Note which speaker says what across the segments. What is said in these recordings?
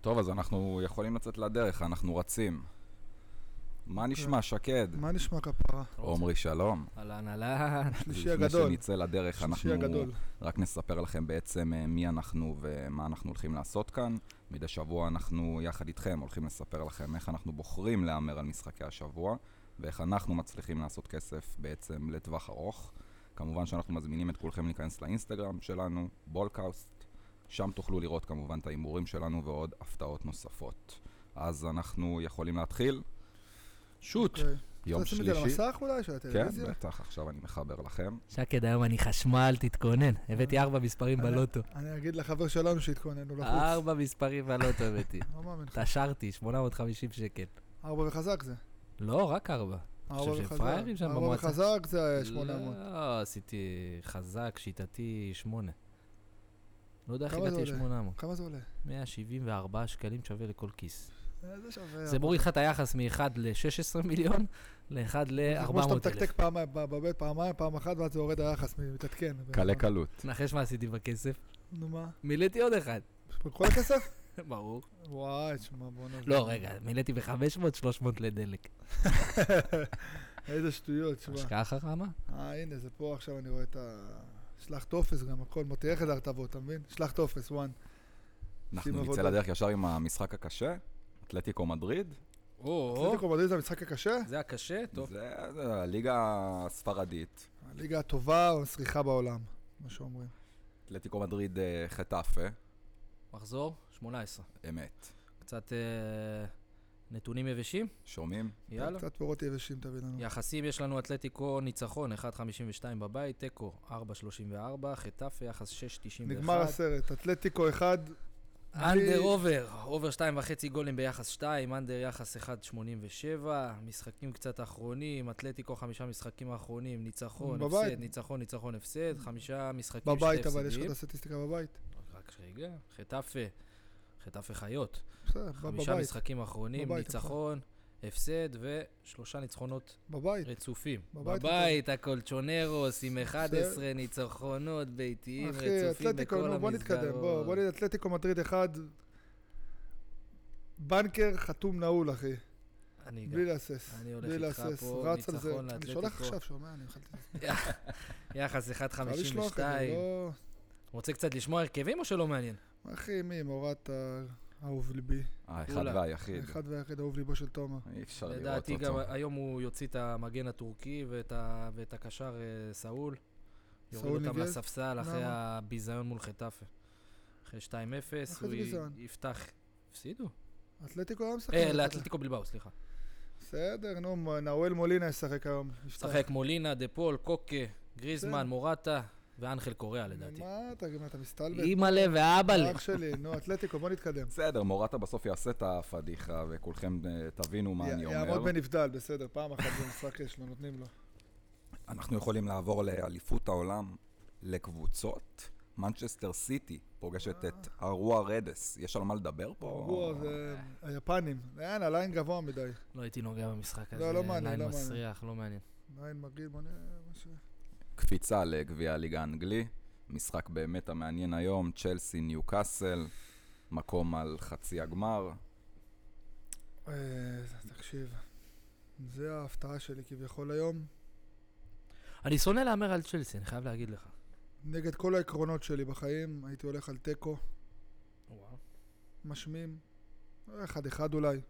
Speaker 1: טוב, אז אנחנו יכולים לצאת לדרך, אנחנו רצים. מה נשמע, שקד?
Speaker 2: אוקיי. מה נשמע כפרה?
Speaker 1: עומרי, שלום.
Speaker 3: אהלן, אהלן.
Speaker 2: שלישי הגדול.
Speaker 1: לפני שנצא לדרך,
Speaker 2: שלישי
Speaker 1: אנחנו
Speaker 2: הגדול.
Speaker 1: רק נספר לכם בעצם אה, מי אנחנו ומה אנחנו הולכים לעשות כאן. מדי שבוע אנחנו יחד איתכם הולכים לספר לכם איך אנחנו בוחרים להמר על משחקי השבוע, ואיך אנחנו מצליחים לעשות כסף בעצם לטווח ארוך. כמובן שאנחנו מזמינים את כולכם להיכנס לאינסטגרם שלנו, בולקאוסט, שם תוכלו לראות כמובן את ההימורים שלנו ועוד הפתעות נוספות. אז אנחנו יכולים להתחיל,
Speaker 3: שוט.
Speaker 2: אוקיי.
Speaker 1: יום
Speaker 2: אתה רוצה לשים את
Speaker 1: שלישי.
Speaker 2: זה למסך אולי? של
Speaker 1: כן,
Speaker 2: הטלוויזיה?
Speaker 1: בטח, עכשיו אני מחבר לכם.
Speaker 3: שקד, היום אני חשמל, תתכונן.
Speaker 2: אה.
Speaker 3: הבאתי ארבע מספרים
Speaker 2: אני-
Speaker 3: בלוטו.
Speaker 2: אני אגיד לחבר שלנו שהתכוננו לחוץ.
Speaker 3: ארבע מספרים בלוטו הבאתי.
Speaker 2: לא מאמין לך.
Speaker 3: תשרתי, 850 שקל.
Speaker 2: ארבע וחזק זה.
Speaker 3: לא, רק ארבע.
Speaker 2: ארבע
Speaker 3: שהם
Speaker 2: וחזק.
Speaker 3: פראיירים שם
Speaker 2: ארבע
Speaker 3: במועצה.
Speaker 2: וחזק זה 800.
Speaker 3: לא, עשיתי חזק, שיטתי, שמונה. לא יודע איך
Speaker 2: כמה זה
Speaker 3: הגעתי
Speaker 2: עולה?
Speaker 3: ל-800.
Speaker 2: כמה זה עולה?
Speaker 3: 174 שקלים שווה לכל כיס.
Speaker 2: אה, זה שווה.
Speaker 3: זה מוריד לך את היחס מ-1 ל-16 מיליון, ל-1
Speaker 2: זה כמו שאתה
Speaker 3: ל-400 אלף.
Speaker 2: מתקתק פעמיים, ב- בבית פעמיים, פעם אחת, ואז זה יורד היחס, מ- מתעדכן.
Speaker 1: קלה קלות.
Speaker 3: נחש מה עשיתי בכסף?
Speaker 2: נו מה?
Speaker 3: מילאתי עוד אחד.
Speaker 2: כל הכסף?
Speaker 3: ברור.
Speaker 2: וואי, תשמע, בוא'נה.
Speaker 3: לא, רגע, מילאתי ב-500, 300 לדלק.
Speaker 2: איזה שטויות, תשמע.
Speaker 3: השקעה חכמה?
Speaker 2: אה, הנה, זה פה עכשיו אני רואה את ה... שלח טופס גם, הכל. מוטי, איך זה הרטבות, אתה מבין? שלח טופס, וואן. שים
Speaker 1: אנחנו נצא
Speaker 2: עבודה.
Speaker 1: לדרך ישר עם המשחק הקשה, אתלטיקו מדריד.
Speaker 3: או,
Speaker 2: אתלטיקו מדריד זה המשחק הקשה?
Speaker 3: זה הקשה? טוב.
Speaker 1: זה זה הליגה הספרדית.
Speaker 2: הליגה הטובה או הצריכה בעולם, מה שאומרים.
Speaker 1: אתלטיקו מדריד אה, חטאפה,
Speaker 3: מחזור? 18.
Speaker 1: אמת.
Speaker 3: קצת אה, נתונים יבשים?
Speaker 1: שומעים?
Speaker 3: יאללה.
Speaker 2: קצת פירות יבשים תביא לנו.
Speaker 3: יחסים יש לנו אתלטיקו ניצחון 1.52 בבית, תיקו 4.34, חטאפה יחס 6.91.
Speaker 2: נגמר הסרט, אתלטיקו אחד,
Speaker 3: אנדר אובר, אובר 2.5 גולים ביחס 2, אנדר יחס 1.87, משחקים קצת אחרונים, אתלטיקו חמישה משחקים האחרונים, ניצחון,
Speaker 2: בבית.
Speaker 3: הפסד, ניצחון, ניצחון, הפסד, חמישה משחקים
Speaker 2: בבית
Speaker 3: שתי
Speaker 2: אבל, יש לך
Speaker 3: הפסדים.
Speaker 2: את הסטטיסטיקה בבית.
Speaker 3: רק רגע, חטאפה, חטאפה חיות,
Speaker 2: בסדר, ב-
Speaker 3: חמישה
Speaker 2: בבית,
Speaker 3: משחקים אחרונים,
Speaker 2: בבית,
Speaker 3: ניצחון, הפסד ושלושה ניצחונות
Speaker 2: בבית.
Speaker 3: רצופים.
Speaker 2: בבית,
Speaker 3: בבית, הקולצ'ונרוס עם 11
Speaker 2: בסדר.
Speaker 3: ניצחונות ביתיים
Speaker 2: אחי,
Speaker 3: רצופים
Speaker 2: אתלטיקו,
Speaker 3: בכל
Speaker 2: נו, בוא נתקדם, בוא, בוא
Speaker 3: המסגרות.
Speaker 2: נראה אתלטיקו מדריד אחד. בנקר חתום נעול, אחי.
Speaker 3: אני גם.
Speaker 2: בלי להסס.
Speaker 3: אני הולך
Speaker 2: בלי
Speaker 3: איתך
Speaker 2: להסס.
Speaker 3: פה,
Speaker 2: רץ על זה.
Speaker 3: ניצחון
Speaker 2: אני
Speaker 3: לאתלטיקו.
Speaker 2: שולח עכשיו, שומע, אני מחלתי.
Speaker 3: יחס
Speaker 2: חייב לשלוח את
Speaker 3: 1.52.
Speaker 2: זה, לא...
Speaker 3: רוצה קצת לשמוע הרכבים או שלא מעניין?
Speaker 2: אה, אחי, מי? מורת האהוב ליבי.
Speaker 1: האחד
Speaker 3: אולה.
Speaker 1: והיחיד.
Speaker 2: אחד והיחיד אהוב ליבו של תומר.
Speaker 1: אי אפשר לראות
Speaker 3: לדעתי גם
Speaker 1: אותו.
Speaker 3: היום הוא יוציא את המגן הטורקי ואת ה- ואת הקשר אה, סאול.
Speaker 2: סאול
Speaker 3: יוריד אותם
Speaker 2: ניגל?
Speaker 3: לספסל אחרי
Speaker 2: למה?
Speaker 3: הביזיון מול חטאפה. אחרי 2-0,
Speaker 2: אחרי
Speaker 3: הוא
Speaker 2: זה
Speaker 3: י-
Speaker 2: ביזיון.
Speaker 3: יפתח... הפסידו?
Speaker 2: אתלטיקו לא משחק.
Speaker 3: אה, לאתלטיקו בלבאו, סליחה.
Speaker 2: בסדר, נו, נאואל מולינה ישחק היום.
Speaker 3: משחק מולינה, דה פול, קוקה,
Speaker 2: בסדר.
Speaker 3: גריזמן, מורטה ואנחל קוריאה לדעתי.
Speaker 2: מה אתה, מה אתה מסתלבט?
Speaker 3: אימא'לה ואבאלה.
Speaker 2: אח שלי, נו, אתלטיקו, בוא נתקדם.
Speaker 1: בסדר, מורטה בסוף יעשה את הפדיחה, וכולכם אה, תבינו מה
Speaker 2: י-
Speaker 1: אני
Speaker 2: יעמוד
Speaker 1: אומר.
Speaker 2: בנבדל, בסדר, פעם אחת זה משחק יש לו, נותנים לו.
Speaker 1: אנחנו יכולים לעבור לאליפות העולם, לקבוצות. מנצ'סטר סיטי פוגשת את הרוע רדס. יש על מה לדבר פה?
Speaker 2: הוא זה היפנים. אין, הליין גבוה מדי.
Speaker 3: לא הייתי נוגע במשחק הזה.
Speaker 2: לא, לא מעניין,
Speaker 3: ליין
Speaker 2: לא מעניין.
Speaker 3: מסריח, לא מעניין.
Speaker 2: ליין מגעיל, בוא נראה מה ש...
Speaker 1: קפיצה לגביע הליגה האנגלי, משחק באמת המעניין היום, צ'לסי ניוקאסל, מקום על חצי הגמר.
Speaker 2: אה, תקשיב, זה ההפתעה שלי כביכול היום.
Speaker 3: אני שונא להמר על צ'לסי, אני חייב להגיד לך.
Speaker 2: נגד כל העקרונות שלי בחיים, הייתי הולך על תיקו,
Speaker 3: וואו.
Speaker 2: משמים, אחד אחד אולי.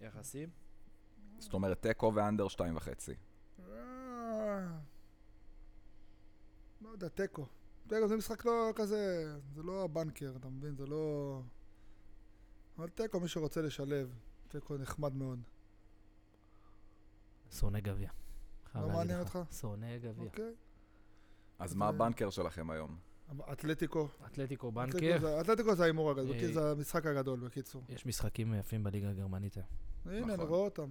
Speaker 3: יחסים?
Speaker 1: זאת אומרת, תיקו ואנדר שתיים וחצי.
Speaker 2: אה, לא יודע, תיקו. תיקו זה משחק לא כזה, זה לא הבנקר, אתה מבין? זה לא... אבל תיקו, מי שרוצה לשלב, תיקו נחמד מאוד.
Speaker 3: שונא גביע. חייב
Speaker 2: לא
Speaker 3: להגיד
Speaker 2: מעניין
Speaker 3: לך.
Speaker 2: אותך?
Speaker 3: שונא גביע.
Speaker 2: אוקיי.
Speaker 1: אז מה הבנקר שלכם היום?
Speaker 2: אתלטיקו.
Speaker 3: אתלטיקו
Speaker 2: אתלטיקו
Speaker 3: בנקר.
Speaker 2: זה- אתלטיקו זה ההימור הגדול,
Speaker 3: אה.
Speaker 2: בקיצור, זה המשחק הגדול, בקיצור.
Speaker 3: יש משחקים יפים בליגה הגרמנית היום.
Speaker 2: הנה, אני
Speaker 1: נכון.
Speaker 2: רואה אותם.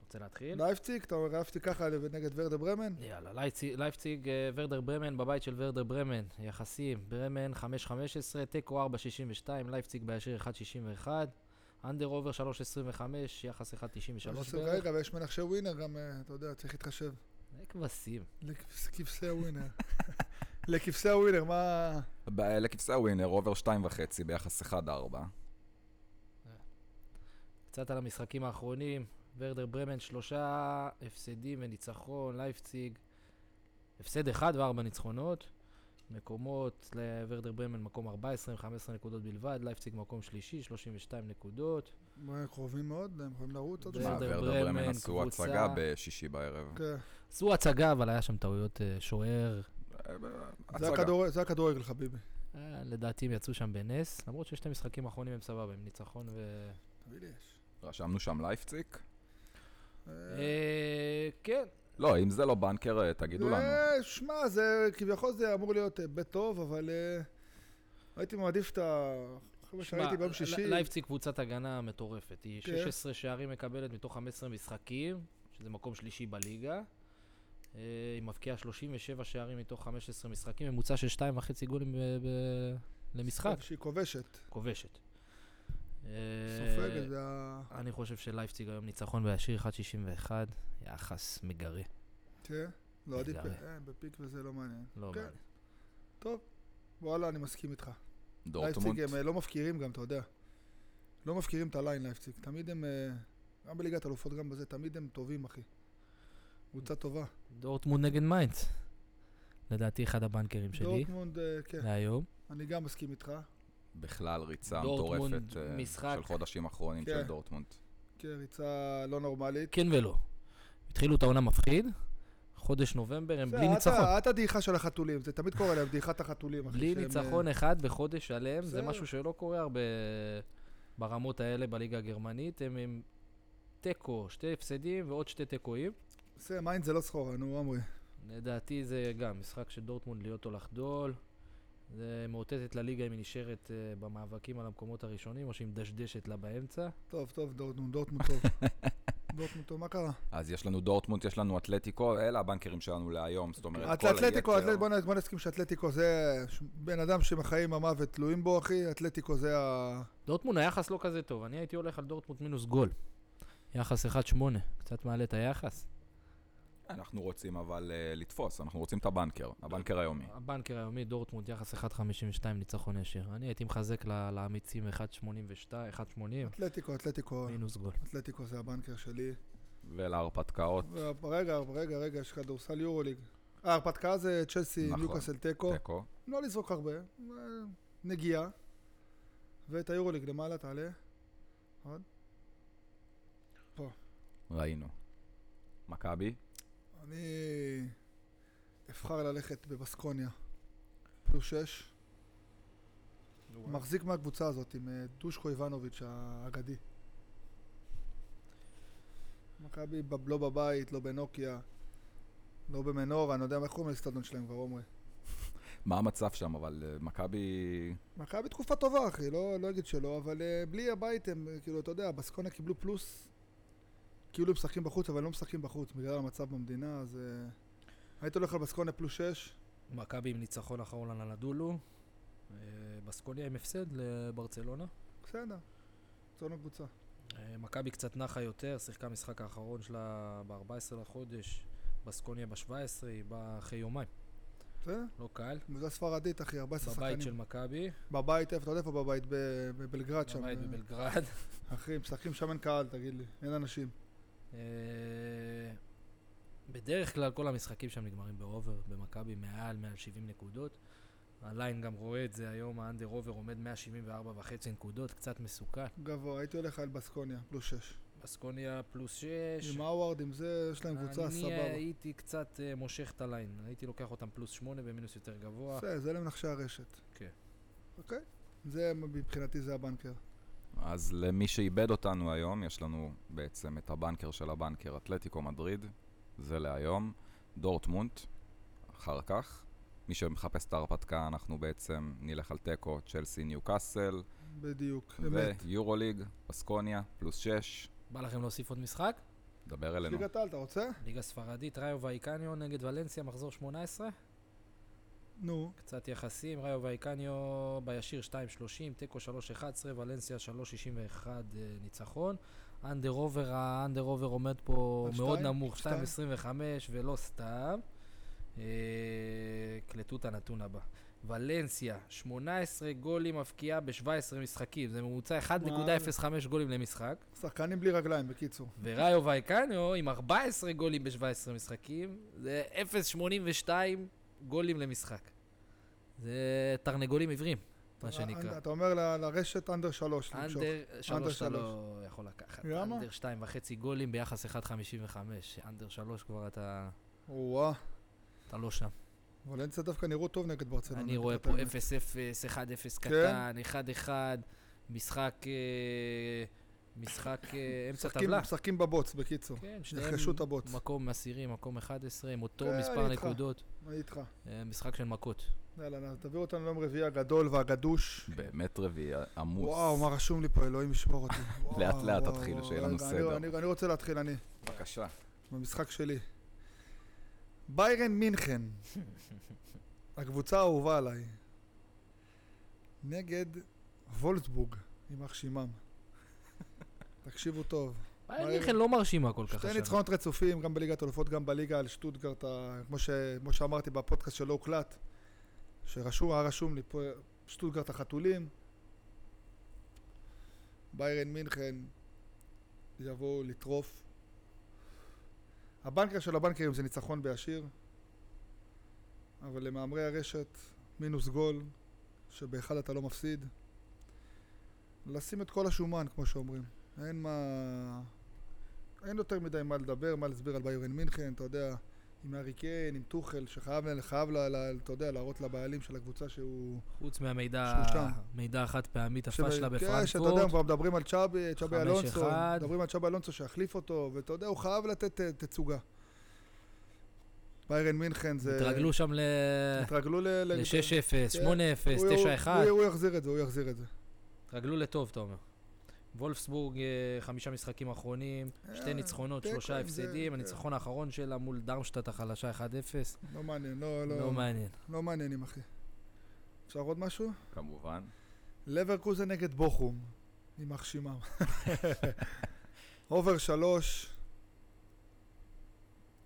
Speaker 3: רוצה להתחיל?
Speaker 2: לייפציג, אתה אומר, אהבתי ככה נגד ורדה ברמן?
Speaker 3: יאללה, לייפציג- לייפציג, אה, ורדר ברמן, בבית של ורדר ברמן, יחסים, ברמן 5.15, תיקו 4.62, לייפציג באשר 1.61, אנדר אובר 3.25, יחס 1.93
Speaker 2: שלוש
Speaker 3: בערך.
Speaker 2: רגע, לא ויש מנחשי ווינר גם, אה, אתה יודע, צריך להתחשב.
Speaker 3: זה כבשים.
Speaker 2: לכבש- כבשי הווינר. לכבשי הווינר, מה...
Speaker 1: ב- לכבשי הווינר, אובר 2.5 ביחס 1-4.
Speaker 3: קצת על המשחקים האחרונים, ורדר ברמן שלושה הפסדים וניצחון, לייפציג הפסד אחד וארבע ניצחונות, מקומות לוורדר ברמן מקום 14 עם 15 נקודות בלבד, לייפציג מקום שלישי, 32 נקודות.
Speaker 2: הם קרובים מאוד, הם יכולים לרוץ עוד
Speaker 3: זה-
Speaker 1: שמע,
Speaker 2: שם.
Speaker 3: ורדר
Speaker 1: ורדר ברמן
Speaker 3: ברמן,
Speaker 1: עשו
Speaker 3: קבוצה-
Speaker 1: הצגה בשישי בערב.
Speaker 2: כן.
Speaker 3: עשו הצגה, אבל היה שם טעויות אה, שוער,
Speaker 2: זה
Speaker 1: הצגה.
Speaker 2: הכדור- זה הכדורגל, חביבי.
Speaker 3: אה, לדעתי הם יצאו שם בנס, למרות ששתי משחקים האחרונים הם סבבה, הם ניצחון ו...
Speaker 2: תביא לי אש.
Speaker 1: רשמנו שם לייפציק?
Speaker 3: אה, כן,
Speaker 1: לא, אם זה לא בנקר, אה, תגידו לנו.
Speaker 2: זה- שמע, זה כביכול זה אמור להיות אה, בית טוב, אבל אה, הייתי מעדיף את החבר'ה
Speaker 3: שמע,
Speaker 2: שראיתי ביום
Speaker 3: ל-
Speaker 2: שישי.
Speaker 3: לייפציג קבוצת הגנה מטורפת. היא
Speaker 2: כן.
Speaker 3: 16 שערים מקבלת מתוך 15 משחקים, שזה מקום שלישי בליגה. אה, היא מבקיעה 37 שערים מתוך 15 משחקים, ממוצע של 2.5 גולים ב- ב- למשחק,
Speaker 2: שהיא כובשת.
Speaker 3: כובשת. אה,
Speaker 2: סופגת, זה ה...
Speaker 3: אני חושב שלייפציג היום ניצחון בישיר 1.61, יחס מגרה,
Speaker 2: כן? לא, עדיף...
Speaker 3: לגמרי.
Speaker 2: אה, בפיק וזה לא מעניין.
Speaker 3: לא
Speaker 2: כן.
Speaker 3: מעניין.
Speaker 2: טוב, וואלה, אני מסכים איתך.
Speaker 1: דורטמונד.
Speaker 2: לייפציג הם אה, לא מפקירים גם, אתה יודע. לא מפקירים את הליין לייפציג. תמיד הם, אה, גם בליגת אלופות, גם בזה, תמיד הם טובים, אחי. קבוצה טובה.
Speaker 3: דורטמונד נגד מיינדס. לדעתי אחד הבנקרים שלי
Speaker 2: דורטמונד, אה, כן,
Speaker 3: להיום.
Speaker 2: אני גם מסכים איתך.
Speaker 1: בכלל ריצה
Speaker 3: דורטמונד,
Speaker 1: מטורפת אה,
Speaker 3: משחק.
Speaker 1: של חודשים אחרונים
Speaker 2: כן.
Speaker 1: של דורטמונד.
Speaker 2: כן, ריצה לא נורמלית.
Speaker 3: כן ולא. התחילו את העונה מפחיד, חודש נובמבר הם
Speaker 2: זה,
Speaker 3: בלי
Speaker 2: את ה-
Speaker 3: ניצחון.
Speaker 2: את הדעיכה של החתולים, זה תמיד קורה להם, דעיכת החתולים, אחי.
Speaker 3: בלי
Speaker 2: שהם, אה,
Speaker 3: ניצחון אחד בחודש שלם, זה
Speaker 2: בסדר.
Speaker 3: משהו שלא קורה הרבה ברמות האלה בליגה הגרמנית. הם עם תיקו, שתי הפסדים ועוד שתי תיקואים.
Speaker 2: אה, זה, מיינד זה לא סחורה, נו, עמרי.
Speaker 3: לדעתי זה גם משחק של דורטמונד להיות או לחדול. זה מאותתת לליגה אם היא נשארת אה, במאבקים על המקומות הראשונים, או שהיא מדשדשת לה באמצע.
Speaker 2: טוב, טוב, דורטמונד, דורטמונד טוב. דורטמונד טוב, מה קרה?
Speaker 1: אז יש לנו דורטמונד, יש לנו אתלטיקו, אלה הבנקרים שלנו להיום, זאת אומרת, כל
Speaker 2: אתלטיקו,
Speaker 1: היתר.
Speaker 2: אתלט- בוא נ- בוא נסכים שאתלטיקו זה ש- בן אדם שמחיים המוות תלויים בו, אחי, אתלטיקו זה ה...
Speaker 3: דורטמונד היחס לא כזה טוב, אני הייתי הולך על דורטמונד מינוס גול. יחס 1-8, קצת מעלה את היחס.
Speaker 1: אנחנו רוצים אבל אה, לתפוס, אנחנו רוצים את הבנקר, הבנקר היומי.
Speaker 3: הבנקר היומי, דורטמונד, יחס 1.52 ניצחון ישיר. אני הייתי מחזק ל- לאמיצים 1.82, 1.80,
Speaker 2: אתלטיקו, אתלטיקו,
Speaker 3: מינוס גול.
Speaker 2: אתלטיקו זה הבנקר שלי.
Speaker 1: ולהרפתקאות,
Speaker 2: רגע, רגע, רגע, יש כדורסל יורוליג. אה, ההרפתקה זה צ'לסי,
Speaker 1: נכון.
Speaker 2: ניוקאסל תיקו.
Speaker 1: תיקו.
Speaker 2: לא לזרוק הרבה, אה, נגיעה. ואת היורוליג למעלה תעלה. עוד.
Speaker 1: ראינו. מכבי,
Speaker 2: אני אבחר ללכת בבסקוניה. פלוס שש. מחזיק מהקבוצה הזאת עם אה, דושקו איבנוביץ' האגדי. מכבי בב- לא בבית, לא בנוקיה, לא במנורה, אני לא יודע איך קוראים לאצטדיון שלהם כבר, עומרי.
Speaker 1: מה המצב שם, אבל אה, מכבי...
Speaker 2: מכבי תקופה טובה, אחי, לא, לא אגיד שלא, אבל uh, בלי הבית הם, אה, כאילו, אתה יודע, בסקונה קיבלו פלוס, כאילו הם משחקים בחוץ, אבל הם לא משחקים בחוץ, בגלל המצב במדינה, אז... Uh, היית הולך על בסקונה פלוס 6,
Speaker 3: מכבי עם ניצחון אחרון על הנדולו. אה, בסקוניה עם הפסד לברצלונה.
Speaker 2: בסדר, זו לא קבוצה.
Speaker 3: אה, מכבי קצת נחה יותר, שיחקה משחק האחרון שלה ב-14 לחודש, בסקוניה ב-17, היא באה אחרי יומיים.
Speaker 2: בסדר?
Speaker 3: לא קל.
Speaker 2: קבוצה ספרדית, אחי, 14
Speaker 3: בבית
Speaker 2: שחקנים.
Speaker 3: של מכבי,
Speaker 2: בבית, איפה, אתה יודע איפה בבית? ב- בבלגרד שם.
Speaker 3: בבית
Speaker 2: אה,
Speaker 3: בבלגרד.
Speaker 2: אחי, משחקים שם אין קהל, תגיד לי, אין אנשים.
Speaker 3: אה, בדרך כלל כל המשחקים שם נגמרים באובר, במכבי מעל 170 נקודות. הליין גם רואה את זה היום, האנדר אובר עומד 174 וחצי נקודות, קצת מסוכן.
Speaker 2: גבוה, הייתי הולך על בסקוניה, פלוס 6.
Speaker 3: בסקוניה פלוס 6.
Speaker 2: עם האווארד, עם זה, יש להם קבוצה
Speaker 3: אני אה,
Speaker 2: סבבה.
Speaker 3: הייתי קצת אה, מושך את הליין, הייתי לוקח אותם פלוס 8 במינוס יותר גבוה.
Speaker 2: בסדר, זה למנחשי הרשת.
Speaker 3: כן.
Speaker 2: אוקיי? זה מבחינתי זה הבנקר.
Speaker 1: אז למי שאיבד אותנו היום, יש לנו בעצם את הבנקר של הבנקר, אתלטיקו מדריד, זה להיום, דורטמונד, אחר כך. מי שמחפש את ההרפתקה, אנחנו בעצם נלך על תיקו, צ'לסי, ניוקאסל,
Speaker 2: בדיוק, אמת.
Speaker 1: ויורוליג, בסקוניה, פלוס 6,
Speaker 3: בא לכם להוסיף עוד משחק?
Speaker 1: דבר אלינו.
Speaker 2: ליגת העל, אתה רוצה?
Speaker 3: ליגה ספרדית, ראיו ואיקניו נגד ולנסיה, מחזור 18.
Speaker 2: נו.
Speaker 3: קצת יחסים, ראיו ואיקניו בישיר 2.30, תיקו 3.11, ולנסיה 3.61 אה, ניצחון. אנדר אובר, האנדר אובר עומד פה
Speaker 2: על
Speaker 3: מאוד
Speaker 2: שתיים?
Speaker 3: נמוך,
Speaker 2: שתיים?
Speaker 3: 2.25 ולא סתם. אה, קלטו את הנתון הבא. ולנסיה, 18 גולים מבקיעה ב-17 משחקים, זה ממוצע 1.05 גולים למשחק.
Speaker 2: שחקנים בלי רגליים, בקיצור.
Speaker 3: וראיו וייקניו עם 14 גולים ב-17 משחקים, זה 0.82 גולים למשחק. זה תרנגולים עיוורים, מה שנקרא.
Speaker 2: אתה- אתה אומר ל- לרשת אנדר שלוש. למשוך.
Speaker 3: אנדר שלוש אתה
Speaker 2: שלוש.
Speaker 3: לא יכול לקחת.
Speaker 2: למה?
Speaker 3: אנדר שתיים וחצי גולים ביחס 1.55. אנדר שלוש כבר אתה
Speaker 2: וואה,
Speaker 3: אתה לא שם.
Speaker 2: וולנסיה דווקא נראו טוב נגד ברצלונה.
Speaker 3: אני
Speaker 2: נגיד
Speaker 3: רואה
Speaker 2: לא את
Speaker 3: פה
Speaker 2: האמת. כן?
Speaker 3: 0-0, 1-0 קטן, 1-1, משחק אה, משחק אה, אמצע
Speaker 2: משחקים-
Speaker 3: טבלה.
Speaker 2: משחקים בבוץ, בקיצור.
Speaker 3: כן, שניהם
Speaker 2: נרכשו את הבוץ.
Speaker 3: מקום עשירי, מקום 11, עם אותו
Speaker 2: כן,
Speaker 3: מספר
Speaker 2: אני איתך.
Speaker 3: נקודות.
Speaker 2: אני איתך.
Speaker 3: אה, משחק של מכות.
Speaker 2: יאללה, נו, תביאו אותנו ליום רביעי הגדול והגדוש.
Speaker 1: באמת רביעי עמוס.
Speaker 2: וואו, מה רשום לי פה, אלוהים ישמור אותי. וואו,
Speaker 1: לאט לאט
Speaker 2: וואו,
Speaker 1: תתחילו,
Speaker 2: וואו,
Speaker 1: שיהיה לנו
Speaker 2: רגע, אני-
Speaker 1: סדר.
Speaker 2: אני- אני רוצה להתחיל, אני,
Speaker 1: בבקשה.
Speaker 2: במשחק שלי. ביירן מינכן, הקבוצה האהובה עליי, נגד וולסבורג, יימח שמם. תקשיבו טוב.
Speaker 3: ביירן מינכן לא מרשימה כל כך.
Speaker 2: שתי
Speaker 3: השנה.
Speaker 2: ניצחונות רצופים, גם בליגת אלופות, גם בליגה על שטוטגרט, ה- כמו, ש... כמו שאמרתי בפודקאסט שלא הוקלט, שרשום, היה רשום לי פה, שטוטגרט החתולים, ביירן מינכן יבואו לטרוף. הבנקר של הבנקרים זה ניצחון בישיר, אבל למהמרי הרשת, מינוס גול, שבאחד אתה לא מפסיד. לשים את כל השומן, כמו שאומרים. אין מה... אין יותר מדי מה לדבר, מה להסביר על ביירן מינכן, אתה יודע, עם הארי קיין, עם טוחל, שחייב, ל- חייב ל, ל, אתה יודע, להראות לבעלים של הקבוצה שהוא...
Speaker 3: חוץ מהמידע,
Speaker 2: שהוא שם.
Speaker 3: מידע חד פעמי,
Speaker 2: שב-
Speaker 3: תפשלה
Speaker 2: כן, שאתה יודע, הם
Speaker 3: בפרנקפורט.
Speaker 2: כבר מדברים על צ'אבי, צ'אבי
Speaker 3: חמש
Speaker 2: אלונסו,
Speaker 3: אחד.
Speaker 2: מדברים על צ'אבי אלונסו שיחליף אותו, ואתה יודע, הוא חייב לתת אה, תצוגה. ביירן מינכן זה...
Speaker 3: התרגלו שם ל...
Speaker 2: התרגלו ל... ל-
Speaker 3: ל-6-0, 8-0,
Speaker 2: הוא- הוא-
Speaker 3: 9-1,
Speaker 2: הוא- הוא יחזיר את זה, הוא יחזיר את זה.
Speaker 3: התרגלו לטוב, אתה אומר. וולפסבורג, אה, חמישה משחקים אחרונים,
Speaker 2: אה,
Speaker 3: שתי ניצחונות,
Speaker 2: תיקו עם
Speaker 3: שלושה
Speaker 2: זה,
Speaker 3: הפסדים,
Speaker 2: אה.
Speaker 3: הניצחון האחרון שלה מול דרמשטט החלשה 1-0,
Speaker 2: לא מעניין, לא, לא,
Speaker 3: לא מעניין.
Speaker 2: לא מעניינים, אחי. אפשר עוד משהו?
Speaker 1: כמובן.
Speaker 2: לברקוזן נגד בוכום, יימח שמם. אובר שלוש.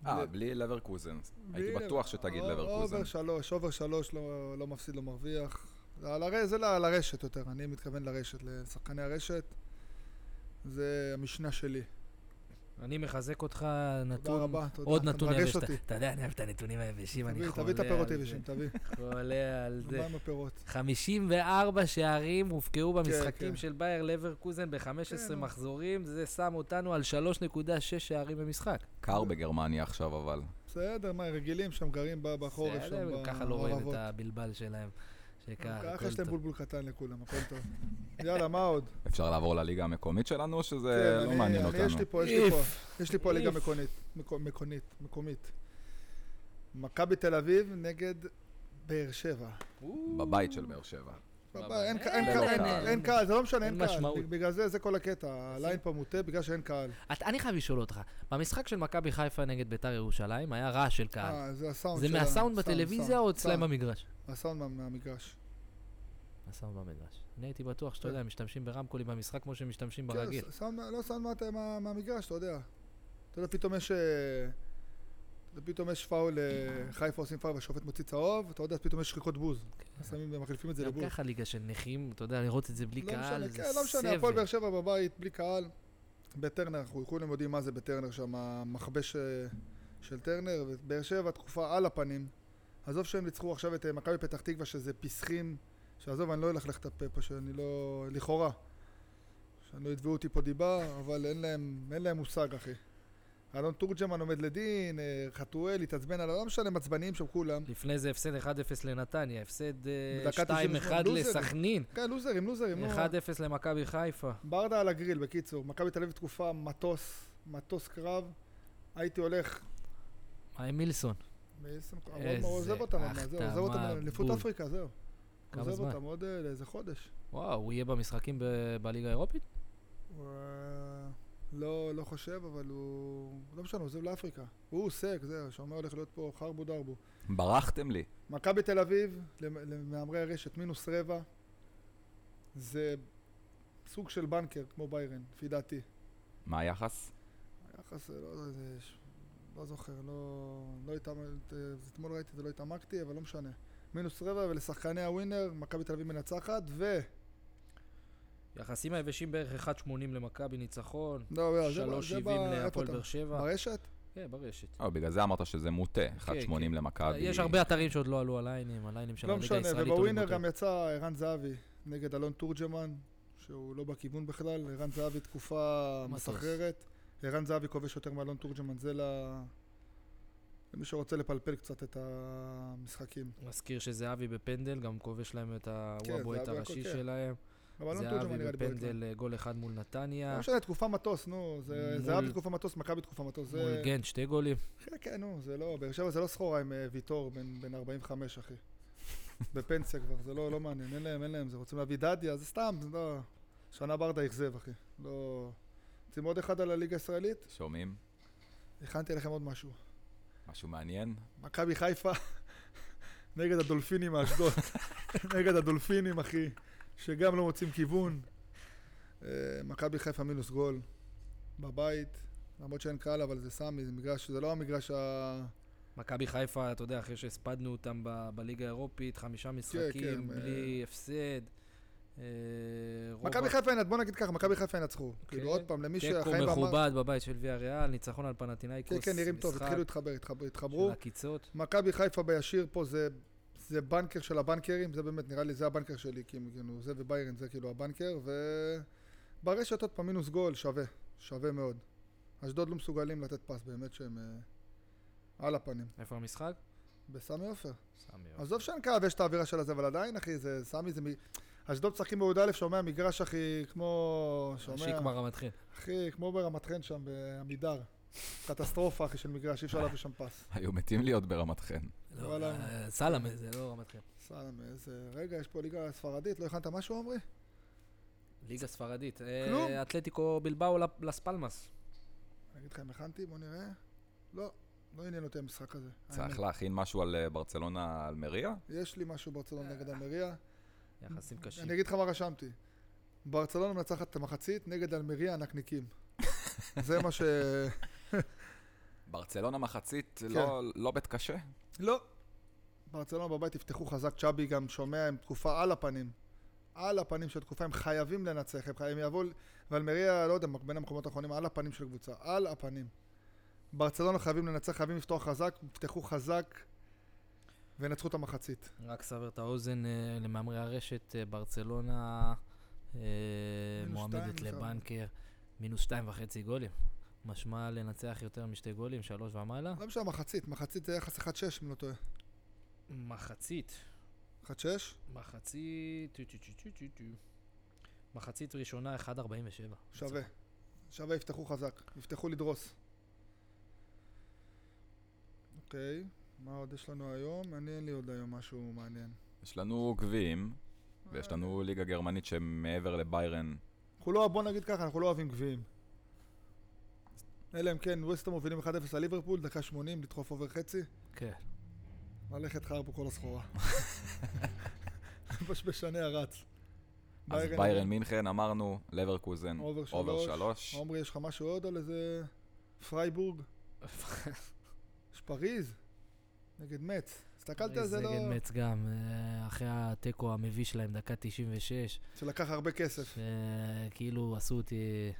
Speaker 1: אה,
Speaker 2: ל-
Speaker 1: בלי לברקוזן. הייתי
Speaker 2: בלי אה,
Speaker 1: בטוח
Speaker 2: לב-
Speaker 1: שתגיד
Speaker 2: אוב-
Speaker 1: לברקוזן.
Speaker 2: אובר שלוש, אובר שלוש לא, לא מפסיד, לא מרוויח. זה על הר- זה ל- על הרשת יותר, אני מתכוון לרשת, לשחקני הרשת. זה המשנה שלי.
Speaker 3: אני מחזק אותך,
Speaker 2: תודה
Speaker 3: נתון,
Speaker 2: רבה, תודה.
Speaker 3: עוד
Speaker 2: אתה
Speaker 3: נתון
Speaker 2: מרגש
Speaker 3: יבש.
Speaker 2: אותי.
Speaker 3: אתה- אתה יודע, אני אוהב את הנתונים היבשים, אני
Speaker 2: תביא,
Speaker 3: חולה
Speaker 2: תביא את הפירות
Speaker 3: על זה.
Speaker 2: היבשים, תביא.
Speaker 3: חולה על
Speaker 2: נו,
Speaker 3: זה.
Speaker 2: מה עם הפירות?
Speaker 3: 54 שערים הובקעו במשחקים
Speaker 2: כן.
Speaker 3: של באייר לברקוזן ב-15
Speaker 2: כן, נו.
Speaker 3: מחזורים, זה שם אותנו על 3.6 שערים במשחק.
Speaker 1: קר בגרמניה עכשיו, אבל.
Speaker 2: בסדר, מה, רגילים שם, גרים ב- בחורף שם,
Speaker 3: בסדר,
Speaker 2: ב-
Speaker 3: ככה לא רואים
Speaker 2: בערבות.
Speaker 3: את הבלבל שלהם. שככה,
Speaker 2: ככה
Speaker 3: כן,
Speaker 2: יש
Speaker 3: הכל
Speaker 2: להם
Speaker 3: טוב.
Speaker 2: אוקיי, בולבול קטן לכולם, הכל טוב. יאללה, מה עוד?
Speaker 1: אפשר לעבור לליגה המקומית שלנו, או שזה
Speaker 2: כן,
Speaker 1: לא
Speaker 2: אני-
Speaker 1: מעניין
Speaker 2: אני- יש לי
Speaker 1: אותנו?
Speaker 2: פה, יש לי פה,
Speaker 3: איף.
Speaker 2: יש לי פה ליגה
Speaker 3: איף.
Speaker 2: מקונית, מקו- מקונית, מקומית. מכבי תל אביב נגד באר שבע.
Speaker 1: בבית של באר שבע.
Speaker 2: בבא, אין ק-
Speaker 3: אין,
Speaker 2: אין קהל,
Speaker 1: אין,
Speaker 2: אין-
Speaker 1: אין.
Speaker 2: אין קהל, זה לא משנה,
Speaker 3: אין
Speaker 2: אין קהל.
Speaker 3: משמעות.
Speaker 2: בגלל זה, זה כל הקטע. הליין פה מוטה בגלל שאין קהל.
Speaker 3: אתה- אה, אני חייב לשאול אותך, במשחק של מכבי חיפה נגד ביתר ירושלים היה רעש של קהל.
Speaker 2: אה, זה הסאונד
Speaker 3: זה
Speaker 2: של ה-
Speaker 3: מהסאונד
Speaker 2: סאונד,
Speaker 3: בטלוויזיה
Speaker 2: סאונד,
Speaker 3: או אצלהם
Speaker 2: סאונד.
Speaker 3: במגרש?
Speaker 2: הסאונד מה- מהמגרש.
Speaker 3: הסאונד במגרש. אני הייתי בטוח שאתה
Speaker 2: כן.
Speaker 3: יודע, משתמשים ברמקולים במשחק כמו שמשתמשים
Speaker 2: כן,
Speaker 3: ברגיל.
Speaker 2: ס- סאונד מה- לא סאונד מה- מה- מהמגרש, אתה יודע. אתה יודע, פתאום יש... אה, אתה יודע, פתאום יש פאול, אה, חיפה עושים פאול והשופט מוציא צהוב, אתה יודע, פתאום יש שריקות בוז. שמים ומחליפים את זה
Speaker 3: כן. גם
Speaker 2: לבוז.
Speaker 3: ככה ליגה של נכים, אתה יודע, לראות את זה בלי
Speaker 2: לא משנה,
Speaker 3: קהל, זה
Speaker 2: כן, לא משנה, הפועל
Speaker 3: סבל.
Speaker 2: באר שבע בבית, בלי קהל. בטרנר, אנחנו כולם יודעים מה זה בטרנר שם, המכבש אה, של טרנר. באר שבע תקופה על הפנים. עזוב שהם ניצחו עכשיו את אה, מכבי פתח תקווה, שזה פסחים. שעזוב, אני לא אלכלך את הפה פה, שאני לא... לכאורה. שלא יתבעו אותי פה דיבה, אבל אין להם, אין להם מושג, אחי. אלון תורג'מן עומד לדין, אה, חתואל התעצבן עליו, לא משנה, הם עצבניים שם כולם.
Speaker 3: לפני זה הפסד 1-0 לנתניה, הפסד אה,
Speaker 2: בדקה
Speaker 3: 2-1
Speaker 2: 98,
Speaker 3: לסכנין,
Speaker 2: כן, לוזרים, לוזרים.
Speaker 3: 1-0
Speaker 2: נו.
Speaker 3: למכבי חיפה.
Speaker 2: ברדה על הגריל, בקיצור. מכבי תל אביב תקופה מטוס, מטוס קרב. הייתי הולך,
Speaker 3: מה עם מילסון?
Speaker 2: מאיסנקו- אבל
Speaker 3: איזה
Speaker 2: הוא עוזב אותם, עוד מעט, זהו, עוזב אותם
Speaker 3: החתמה,
Speaker 2: לאליפות
Speaker 3: בול.
Speaker 2: אפריקה, זהו.
Speaker 3: כמה
Speaker 2: עוזב
Speaker 3: זמן?
Speaker 2: אותם עוד אה, לאיזה חודש.
Speaker 3: וואו, הוא יהיה במשחקים ב- בליגה האירופית?
Speaker 2: הוא, אה, לא, לא חושב, אבל הוא... לא משנה, הוא עוזב לאפריקה. הוא סק, זהו, שאומר הולך להיות פה חרבו דרבו.
Speaker 1: ברחתם לי.
Speaker 2: מכבי תל אביב, למ- למהמרי הרשת, מינוס רבע. זה סוג של בנקר, כמו ביירן, לפי דעתי.
Speaker 1: מה היחס?
Speaker 2: היחס, אה, לא יודע, זה... ש- לא זוכר, לא... לא התעמקתי, אתמול ראיתי את זה, לא התעמקתי, אבל לא משנה. מינוס רבע, ולשחקני הווינר, מכבי תל אביב מנצחת, ו...
Speaker 3: יחסים היבשים בערך 1.80 למכבי ניצחון,
Speaker 2: לא, לא, זה ב-
Speaker 3: 3.70
Speaker 2: זה ב- איפה
Speaker 3: להפועל
Speaker 2: אתה?
Speaker 3: באר שבע.
Speaker 2: ברשת?
Speaker 3: כן, ברשת.
Speaker 1: אבל אה, בגלל זה אמרת שזה מוטה, 1.80
Speaker 3: כן.
Speaker 1: למכבי.
Speaker 3: יש הרבה אתרים שעוד לא עלו על ליינים, הליינים של
Speaker 2: לא
Speaker 3: הליגה
Speaker 2: משנה,
Speaker 3: הישראלית. עולים
Speaker 2: ובווינר
Speaker 3: יותר.
Speaker 2: גם יצא ערן זהבי נגד אלון תורג'מן, שהוא לא בכיוון בכלל, ערן זהבי תקופה
Speaker 3: מטוס.
Speaker 2: מסחררת. ערן זהבי כובש יותר מאלון תורג'מן, זה ל... למי שרוצה לפלפל קצת את המשחקים.
Speaker 3: מזכיר שזהבי בפנדל, גם כובש להם את ה-
Speaker 2: כן,
Speaker 3: הוא הבועט
Speaker 2: זהבי
Speaker 3: הראשי
Speaker 2: הכל, כן.
Speaker 3: שלהם.
Speaker 2: אבל אלון תורג'מן
Speaker 3: זהבי
Speaker 2: נראה לי בועט להם.
Speaker 3: בפנדל, אה, גול אחד מול נתניה.
Speaker 2: לא משנה, תקופה מטוס, נו. זה-
Speaker 3: אה. מול-
Speaker 2: זהבי תקופה מטוס, מכבי תקופה מטוס. זה...
Speaker 3: מול גנט, שתי גולים.
Speaker 2: כן, כן, נו, זה לא... באר שבע זה לא סחורה עם אה, ויטור בן בן 45, אחי. בפנסיה כבר, זה לא לא מעניין. אין להם, אין להם. זה רוצים להביא דדיה, זה סתם, זה לא... שנה ברדה אכזב, אחי. לא... רוצים עוד אחד על הליגה הישראלית?
Speaker 1: שומעים?
Speaker 2: הכנתי לכם עוד משהו.
Speaker 1: משהו מעניין?
Speaker 2: מכבי חיפה נגד הדולפינים מאשדוד. נגד הדולפינים, אחי, שגם לא מוצאים כיוון. אה, מכבי חיפה מינוס גול בבית, למרות שאין קהל, אבל זה סמי, זה מגרש, זה לא המגרש ה...
Speaker 3: מכבי חיפה, אתה יודע, אחרי שהספדנו אותם ב- בליגה האירופית, חמישה
Speaker 2: כן,
Speaker 3: משחקים, בלי הפסד. אה, רוב
Speaker 2: מכבי
Speaker 3: ה-
Speaker 2: חיפה ינצחו, בוא נגיד ככה, מכבי חיפה ינצחו.
Speaker 3: כן.
Speaker 2: כאילו עוד פעם, למי
Speaker 3: תיקו
Speaker 2: שהחיים... במ-
Speaker 3: מכובד בבית של ויה ריאל, ניצחון על פנתינאיקוס,
Speaker 2: כן, כן, נראים טוב,
Speaker 3: משחק
Speaker 2: התחילו להתחבר, התחבר-
Speaker 3: של
Speaker 2: התחברו.
Speaker 3: עקיצות.
Speaker 2: מכבי חיפה בישיר פה זה, זה בנקר של הבנקרים, זה באמת, נראה לי, זה הבנקר שלי, כאילו, זה וביירן, זה כאילו הבנקר, וברשת עוד פעם מינוס גול, שווה, שווה מאוד. אשדוד לא מסוגלים לתת פס, באמת שהם אה, על הפנים.
Speaker 3: איפה המשחק?
Speaker 2: בסמי עופר.
Speaker 3: סמי. אוקיי.
Speaker 2: עזוב שאין קו, יש את האווירה של הזה, אבל עדיין, אחי, זה סמי, זה מ... אשדוד משחקים בי"א, שומע מגרש, אחי, כמו... שומע...
Speaker 3: שיקמר המתחיל.
Speaker 2: אחי, כמו ברמת חן שם, בעמידר. קטסטרופה, אחי, של מגרש, אי אפשר להביא שם פס.
Speaker 1: היו מתים להיות ברמת חן.
Speaker 3: לא,
Speaker 2: וואלה.
Speaker 3: אה, סלאמה, זה לא המתחיל.
Speaker 2: סלאם, איזה... רגע, יש פה ליגה ספרדית, לא הכנת משהו, עמרי?
Speaker 3: ליגה ספרדית.
Speaker 2: כלום.
Speaker 3: אה, אתלטיקו בלבאו לפ- לס פלמאס.
Speaker 2: אני אגיד לך אם הכנתי, בוא נראה. לא, לא עניין אותי המשחק הזה. האמת.
Speaker 1: צריך להכין משהו על אה, ברצלונה אלמריה?
Speaker 2: יש לי משהו ברצלונה נגד אלמריה.
Speaker 3: לא. יחסים קשים.
Speaker 2: אני אגיד לך מה רשמתי. ברצלונה מנצחת את המחצית נגד אלמריה הנקניקים. זה מה ש...
Speaker 1: ברצלונה מחצית
Speaker 2: כן.
Speaker 1: לא- לא בית קשה?
Speaker 2: לא. ברצלונה בבית יפתחו חזק, צ'אבי גם שומע, הם תקופה על הפנים. על הפנים של תקופה, הם חייבים לנצח, הם חייבים יבואו, ואלמריה, לא יודע, בין המקומות האחרונים, על הפנים של קבוצה, על הפנים. ברצלונה חייבים לנצח, חייבים לפתוח חזק, יפתחו חזק, וינצחו את המחצית.
Speaker 3: רק סבר את האוזן אה, למאמרי הרשת, אה, ברצלונה אה,
Speaker 2: מינוס
Speaker 3: מועמדת
Speaker 2: שתיים, נכון.
Speaker 3: לבנקר, מינוס שתיים וחצי גולים. משמע לנצח יותר משתי גולים, שלוש ומעלה.
Speaker 2: לא משנה, מחצית, מחצית זה יחס 1-6, אם לא טועה.
Speaker 3: מחצית.
Speaker 2: 1-6?
Speaker 3: מחצית... טו, טו, טו, טו, טו, טו. מחצית ראשונה 1.47.
Speaker 2: שווה. שווה, יפתחו חזק. יפתחו לדרוס. אוקיי, מה עוד יש לנו היום? אני, אין לי עוד היום משהו מעניין.
Speaker 1: יש לנו גביעים, ויש לנו ליגה גרמנית שמעבר לביירן.
Speaker 2: אנחנו לא, בוא נגיד ככה, אנחנו לא אוהבים גביעים. אלא אם כן, ווסטר מובילים 1-0 על ליברפול, דקה 80, לדחוף אובר חצי,
Speaker 3: כן.
Speaker 2: ללכת חר פה כל הסחורה. בשבשני הרץ.
Speaker 1: אז
Speaker 2: ביירן-
Speaker 1: ביירן מינכן אמרנו, לברקוזן,
Speaker 2: אובר
Speaker 1: אובר
Speaker 2: שלוש.
Speaker 1: שלוש.
Speaker 2: עומרי, יש לך משהו עוד על איזה... פרייבורג? יש פריז? נגד מצ. הסתכלת על זה לא...
Speaker 3: נגד מצ גם, אה, אחרי התיקו המביש שלהם, דקה 96.
Speaker 2: שלקח הרבה כסף.
Speaker 3: כאילו עשו אותי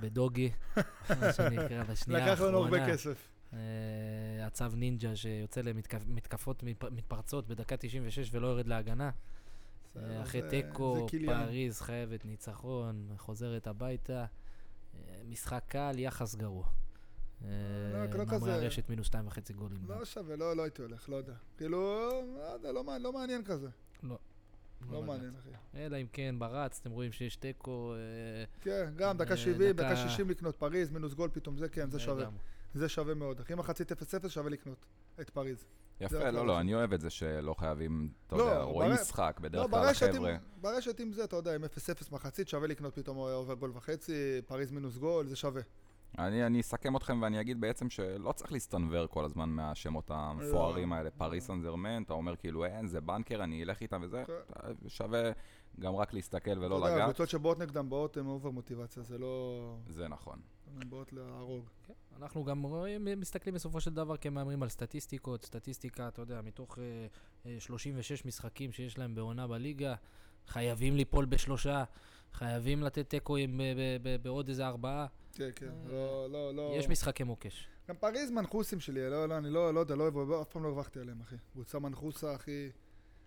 Speaker 3: בדוגי, מה שנקרא, בשנייה
Speaker 2: לקח לנו הרבה
Speaker 3: האחרונה.
Speaker 2: כסף.
Speaker 3: אה, הצב נינג'ה שיוצא למתקפות מתפרצות בדקה 96 ולא יורד להגנה. אה,
Speaker 2: בסדר,
Speaker 3: אחרי
Speaker 2: זה- זה
Speaker 3: תיקו,
Speaker 2: קיליאן.
Speaker 3: פריז חייבת ניצחון, חוזרת הביתה. אה, משחק קל, יחס גרוע.
Speaker 2: לא,
Speaker 3: אה,
Speaker 2: לא
Speaker 3: מאמרי
Speaker 2: כזה.
Speaker 3: הרשת מינוס שתיים וחצי גולים.
Speaker 2: לא שווה, לא לא הייתי הולך, לא יודע. כאילו, לא יודע, לא מעניין- לא מעניין כזה. לא
Speaker 3: לגעת.
Speaker 2: מעניין, אחי.
Speaker 3: אלא אם כן ברץ, אתם רואים שיש תיקו. אה,
Speaker 2: כן, גם
Speaker 3: אה,
Speaker 2: דקה 70,
Speaker 3: דקה-
Speaker 2: דקה 60 לקנות פריז, מינוס גול פתאום, זה כן, זה שווה.
Speaker 3: אה, גם.
Speaker 2: זה שווה מאוד. אחי, מחצית 0-0 שווה לקנות את פריז. זה
Speaker 1: יפה,
Speaker 2: רק
Speaker 1: לא,
Speaker 2: לרשת.
Speaker 1: לא, אני אוהב את זה שלא חייבים, אתה
Speaker 2: לא,
Speaker 1: יודע, רואים
Speaker 2: בר-
Speaker 1: משחק,
Speaker 2: לא,
Speaker 1: בדרך כלל
Speaker 2: ברשת
Speaker 1: החבר'ה.
Speaker 2: עם- ברשת עם זה, אתה יודע, עם 0-0 מחצית, שווה לקנות פתאום אובר גול וחצי, פריז מינוס גול, זה שווה.
Speaker 1: אני, אני אסכם אתכם ואני אגיד בעצם שלא צריך להסתנוור כל הזמן מהשמות
Speaker 2: לא.
Speaker 1: המפוארים האלה. פריס סן זרמן, אתה אומר כאילו, אין, זה בנקר, אני אלך איתם וזה.
Speaker 3: אה,
Speaker 2: כן.
Speaker 3: לא
Speaker 1: אתה- שווה גם רק להסתכל ולא
Speaker 2: אתה יודע,
Speaker 1: לגעת.
Speaker 2: הקבוצות שבאות נגדם באות הן אובר מוטיבציה, זה לא...
Speaker 1: זה נכון.
Speaker 2: הן באות להרוג.
Speaker 3: כן, אנחנו גם רואים- מסתכלים בסופו של דבר כמהמרים על סטטיסטיקות, סטטיסטיקה, אתה יודע, מתוך אה, אה, 36 משחקים שיש להם בעונה בליגה, חייבים ליפול בשלושה, חייבים לתת תיקו עם- ב- ב- ב- בעוד איזה ארבעה.
Speaker 2: כן, כן,
Speaker 3: אה,
Speaker 2: לא, לא, לא.
Speaker 3: יש משחקי מוקש.
Speaker 2: גם פריז מנחוסים שלי, לא, לא, אני לא, לא יודע, לא, אוהב- לא, אף פעם לא הרווחתי עליהם, אחי. קבוצה מנחוסה, אחי.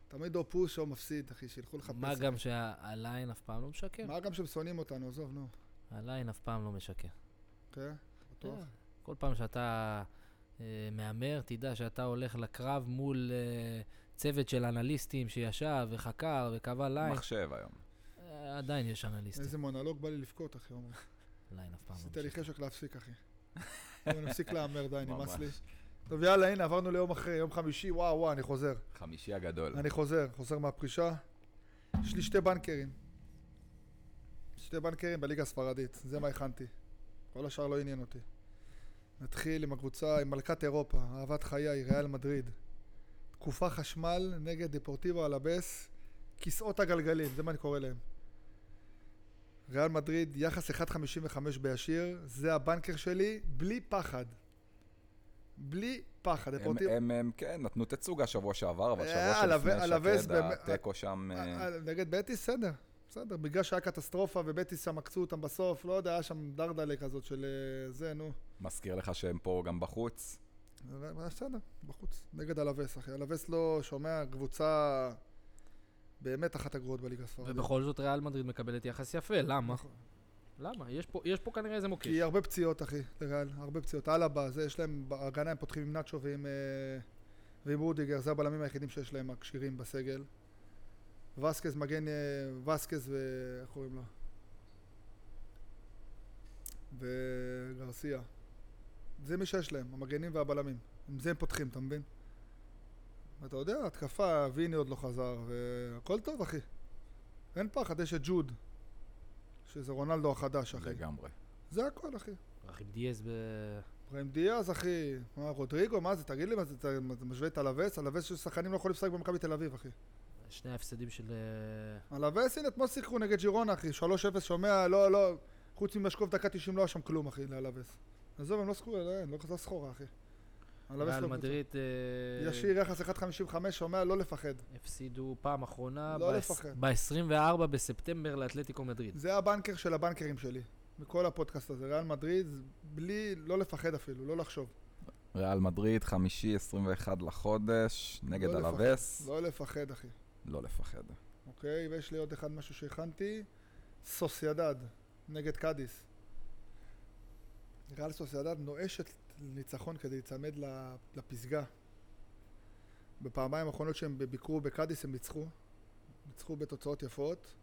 Speaker 2: תמיד או פוש או מפסיד, אחי, שילכו לחפש.
Speaker 3: מה גם שהליין אף פעם לא משקר.
Speaker 2: מה גם שהם שונאים אותנו, עזוב, נו.
Speaker 3: הליין אף פעם לא משקר.
Speaker 2: כן, בטוח.
Speaker 3: אה, כל פעם שאתה אה, מהמר, תדע שאתה הולך לקרב מול אה, צוות של אנליסטים שישב וחקר וקבע ליין.
Speaker 1: מחשב היום.
Speaker 3: אה, עדיין יש אנליסטים.
Speaker 2: איזה מונולוג בא לי לבכות, אחי, עומר.
Speaker 3: ליין אף פעם לא
Speaker 2: עשית לי
Speaker 3: משקר.
Speaker 2: חשק להפסיק, אחי. בוא נפסיק להמר, די, נמאס לי.
Speaker 1: ממש.
Speaker 2: טוב, יאללה, הנה, עברנו ליום אחרי, יום חמישי, וואו, וואו, אני חוזר.
Speaker 1: חמישי הגדול.
Speaker 2: אני חוזר, חוזר מהפרישה. יש לי שתי בנקרים. שתי בנקרים בליגה הספרדית, זה מה הכנתי. כל השאר לא עניין אותי. נתחיל עם הקבוצה, עם מלכת אירופה, אהבת חיי, ריאל מדריד. תקופה חשמל נגד דפורטיבו אלבס, כיסאות הגלגלים, זה מה אני קורא להם. ריאל מדריד, יחס 1.55 בישיר, זה הבנקר שלי, בלי פחד. בלי פחד.
Speaker 1: הם,
Speaker 2: דפורטיבו-
Speaker 1: הם, הם, כן, נתנו תצוגה שבוע שעבר, אבל
Speaker 2: אה,
Speaker 1: שבוע
Speaker 2: עלווה-
Speaker 1: שלפני
Speaker 2: עלווה
Speaker 1: שקד,
Speaker 2: באמת-
Speaker 1: התיקו שם... אה,
Speaker 2: אה, אה, נגד בטיס, בסדר. בסדר, בגלל שהיה קטסטרופה ובטיס שם עקצו אותם בסוף, לא יודע, היה שם דרדלה כזאת של אה, זה, נו.
Speaker 1: מזכיר לך שהם פה גם בחוץ.
Speaker 2: אבל אה, בסדר, בחוץ. נגד הלווס, אחי. הלווס לא שומע, קבוצה באמת אחת הגרועות בליגה הספרדית.
Speaker 3: ובכל זאת ריאל מדריד מקבלת יחס יפה, למה?
Speaker 2: נכון.
Speaker 3: למה? יש פה- יש פה כנראה איזה מוקש.
Speaker 2: כי הרבה פציעות, אחי, לריאל, הרבה פציעות. אלבה, זה, יש להם, בהגנה הם פותחים עם נאצ'ו ועם, אה, ועם רודיגר, זה הבלמים היחידים שיש להם הכשירים בסגל. וסקז מגן, אה, וסקז ו... איך קוראים לו? וגרסיה. זה מי שיש להם, המגנים והבלמים. עם זה הם פותחים, אתה מבין? ואתה יודע, התקפה, ויני עוד לא חזר, והכל טוב, אחי. אין פחד, יש את ג'וד, שזה רונלדו החדש, אחי.
Speaker 1: לגמרי.
Speaker 2: זה הכל, אחי.
Speaker 3: רכים דיאז ב-
Speaker 2: אברהים דיאז, אחי. מה, רודריגו, מה זה? תגיד לי, מה זה? אתה אתה משווה את הלווס? הלווס של שחקנים לא יכולים לשחק במכבי תל אביב, אחי.
Speaker 3: שני ההפסדים של... אה,
Speaker 2: הלווס, הנה, אתמול שיחקו נגד ג'ירונה, אחי. 3-0, שומע, לא, לא. חוץ ממשקוף דקה 90 לא היה שם כלום, אחי, להלווס. עזוב, הם לא שחקו, לא, הם לא חזר סחורה, אחי. הלווס לא
Speaker 3: ריאל
Speaker 2: קבוצה.
Speaker 3: מדריד אה,
Speaker 2: ישיר יחס 1.55, שומע, לא לפחד.
Speaker 3: הפסידו פעם אחרונה
Speaker 2: לא לפחד.
Speaker 3: ב-24 בספטמבר לאתלטיקו מדריד.
Speaker 2: זה הבנקר של הבנקרים שלי. מכל הפודקאסט הזה, ריאל מדריד, בלי, לא לפחד אפילו, לא לחשוב.
Speaker 1: ריאל מדריד, חמישי, 21 לחודש, נגד
Speaker 2: לא לפחד,
Speaker 1: הלווס.
Speaker 2: לא לפחד, אחי.
Speaker 1: לא לפחד.
Speaker 2: אוקיי, ויש לי עוד אחד משהו שהכנתי, סוסיידד, נגד קאדיס. ריאל סוסיידד נואשת ניצחון כדי להיצמד ל- לפסגה. בפעמיים האחרונות שהם ביקרו בקאדיס הם ניצחו, ניצחו בתוצאות יפות.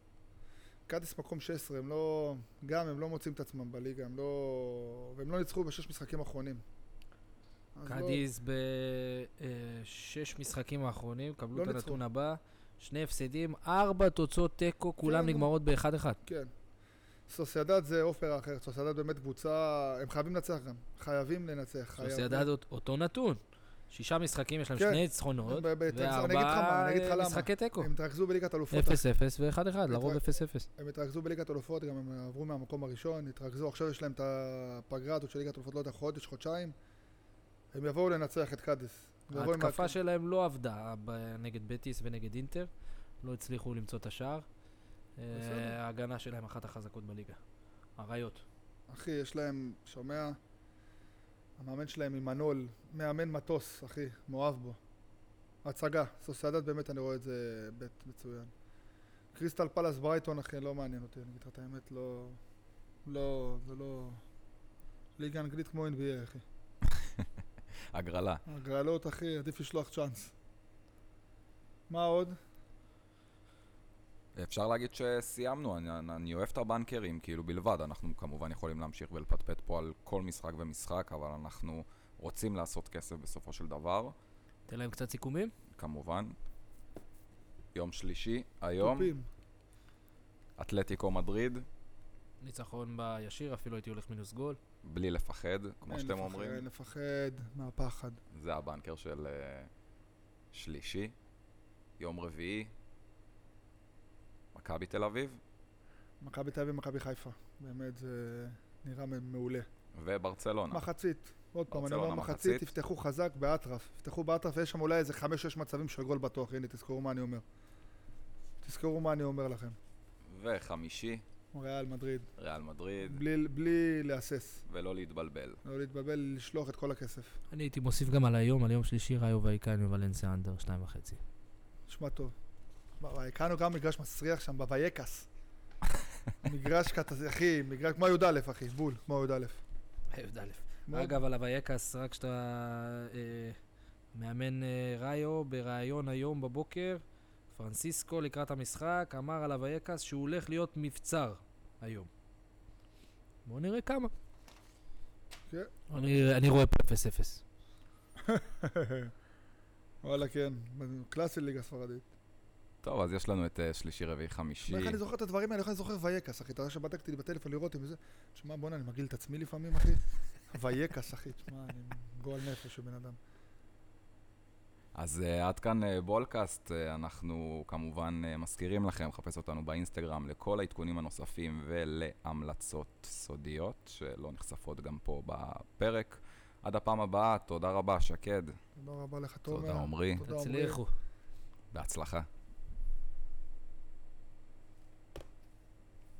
Speaker 2: קאדיס מקום 16, הם לא... גם הם לא מוצאים את עצמם בליגה, הם לא... והם לא ניצחו בשש משחקים האחרונים. אז לא-
Speaker 3: קאדיז בשש אה, משחקים האחרונים,
Speaker 2: לא
Speaker 3: קבלו את
Speaker 2: ניצחו.
Speaker 3: הנתון הבא, שני הפסדים, ארבע תוצאות תיקו, כולם
Speaker 2: נו.
Speaker 3: נגמרות באחד אחד.
Speaker 2: כן. סוסיידד זה אופרה אחרת, סוסיידד באמת קבוצה, הם חייבים לנצח גם, חייבים לנצח. חייבים.
Speaker 3: סוסיידד אות- אותו נתון. שישה משחקים, יש להם
Speaker 2: כן.
Speaker 3: שני ניצחונות,
Speaker 2: ב- ב- אני אגיד לך מה,
Speaker 3: וארבעה
Speaker 2: אני אגיד לך
Speaker 3: אה,
Speaker 2: למה.
Speaker 3: משחקי תיקו.
Speaker 2: הם התרכזו בליגת אלופות,
Speaker 3: 0-0 ו-1-1, לרוב
Speaker 2: התרא-
Speaker 3: 0-0.
Speaker 2: הם התרכזו בליגת אלופות, גם הם עברו מהמקום הראשון, התרכזו, עכשיו יש להם את הפגרה הזאת של ליגת אלופות, לא יודע, חודש, חודשיים, הם יבואו לנצח את קאדיס. הם יבואו עם
Speaker 3: ההתקפה
Speaker 2: ההתק-
Speaker 3: שלהם לא עבדה ב- נגד בטיס ונגד אינטר, לא הצליחו למצוא את השער. אה,
Speaker 2: בסדר.
Speaker 3: ההגנה שלהם אחת החזקות בליגה. אריות.
Speaker 2: אחי, יש להם, שומע? המאמן שלהם עמנול, מאמן מטוס, אחי, מאוהב בו. הצגה, סוסיידד באמת, אני רואה את זה בית מצוין. קריסטל פלאס ברייטון, אחי, לא מעניין אותי, אני אגיד לך את האמת, לא... לא, זה לא... ליגה אנגלית כמו NBA, אחי.
Speaker 1: הגרלה.
Speaker 2: הגרלות, אחי, עדיף לשלוח צ'אנס. מה עוד?
Speaker 1: אפשר להגיד שסיימנו, אני, אני, אני אוהב את הבנקרים, כאילו בלבד, אנחנו כמובן יכולים להמשיך ולפטפט פה על כל משחק ומשחק, אבל אנחנו רוצים לעשות כסף בסופו של דבר,
Speaker 3: תן להם קצת סיכומים.
Speaker 1: כמובן. יום שלישי, היום,
Speaker 2: תופים.
Speaker 1: אתלטיקו מדריד,
Speaker 3: ניצחון בישיר, אפילו הייתי הולך מינוס גול.
Speaker 1: בלי לפחד, כמו
Speaker 2: אין
Speaker 1: שאתם
Speaker 2: לפחד,
Speaker 1: אומרים,
Speaker 2: לפחד מהפחד.
Speaker 1: זה הבנקר של אה, שלישי. יום רביעי, מכבי תל אביב,
Speaker 2: מכבי תל אביב ומכבי חיפה. באמת, זה נראה מ- מעולה.
Speaker 1: וברצלונה.
Speaker 2: מחצית. עוד פעם, אני
Speaker 1: ברצלונה,
Speaker 2: אומר מחצית,
Speaker 1: נכון. מחצית.
Speaker 2: תפתחו חזק באטרף. תפתחו באטרף, יש שם אולי איזה 5-6 מצבים של גול בטוח. הנה, תזכרו מה אני אומר. תזכרו מה אני אומר לכם.
Speaker 1: וחמישי,
Speaker 2: ריאל מדריד.
Speaker 1: ריאל מדריד,
Speaker 2: בלי- בלי להסס.
Speaker 1: ולא להתבלבל.
Speaker 2: לא להתבלבל, לשלוח את כל הכסף.
Speaker 3: אני הייתי מוסיף גם על היום, על יום שלישי ראיו ואיקן ווולנסיה אנדר, שתיים וחצי.
Speaker 2: נשמע טוב. מה, הכרנו גם מגרש מסריח שם בווייקס. מגרש קטע, אחי, מגרש כמו י"א, אחי, בול, כמו י"א.
Speaker 3: אה, י"א.
Speaker 2: כמו-
Speaker 3: אגב, על הווייקס, רק כשאתה אה, מאמן אה, ראיו, בריאיון היום בבוקר, פרנסיסקו לקראת המשחק אמר על הווייקס שהוא הולך להיות מבצר היום. בואו נראה כמה.
Speaker 2: כן.
Speaker 3: אני אני רואה פה 0-0.
Speaker 2: וואלה, כן, קלאסי ליגה ספרדית.
Speaker 1: טוב, אז יש לנו את אה, שלישי, רביעי, חמישי.
Speaker 2: איך אני זוכר את הדברים האלה, איך אני זוכר וייקס, אחי, אתה יודע שבדקתי לי בטלפון לראות אם זה... שמע, בואנה, אני מגעיל את עצמי לפעמים, אחי. וייקס, אחי, תשמע, אני גועל נפש של בן אדם.
Speaker 1: אז אה, עד כאן אה, בולקאסט, אה, אנחנו כמובן אה, מזכירים לכם, חפש אותנו באינסטגרם לכל העדכונים הנוספים ולהמלצות סודיות, שלא נחשפות גם פה בפרק. עד הפעם הבאה, תודה רבה, שקד,
Speaker 2: תודה רבה לך, תומר.
Speaker 1: תודה עמרי,
Speaker 2: תודה, עמרי.
Speaker 3: תצליחו.
Speaker 1: בהצלחה.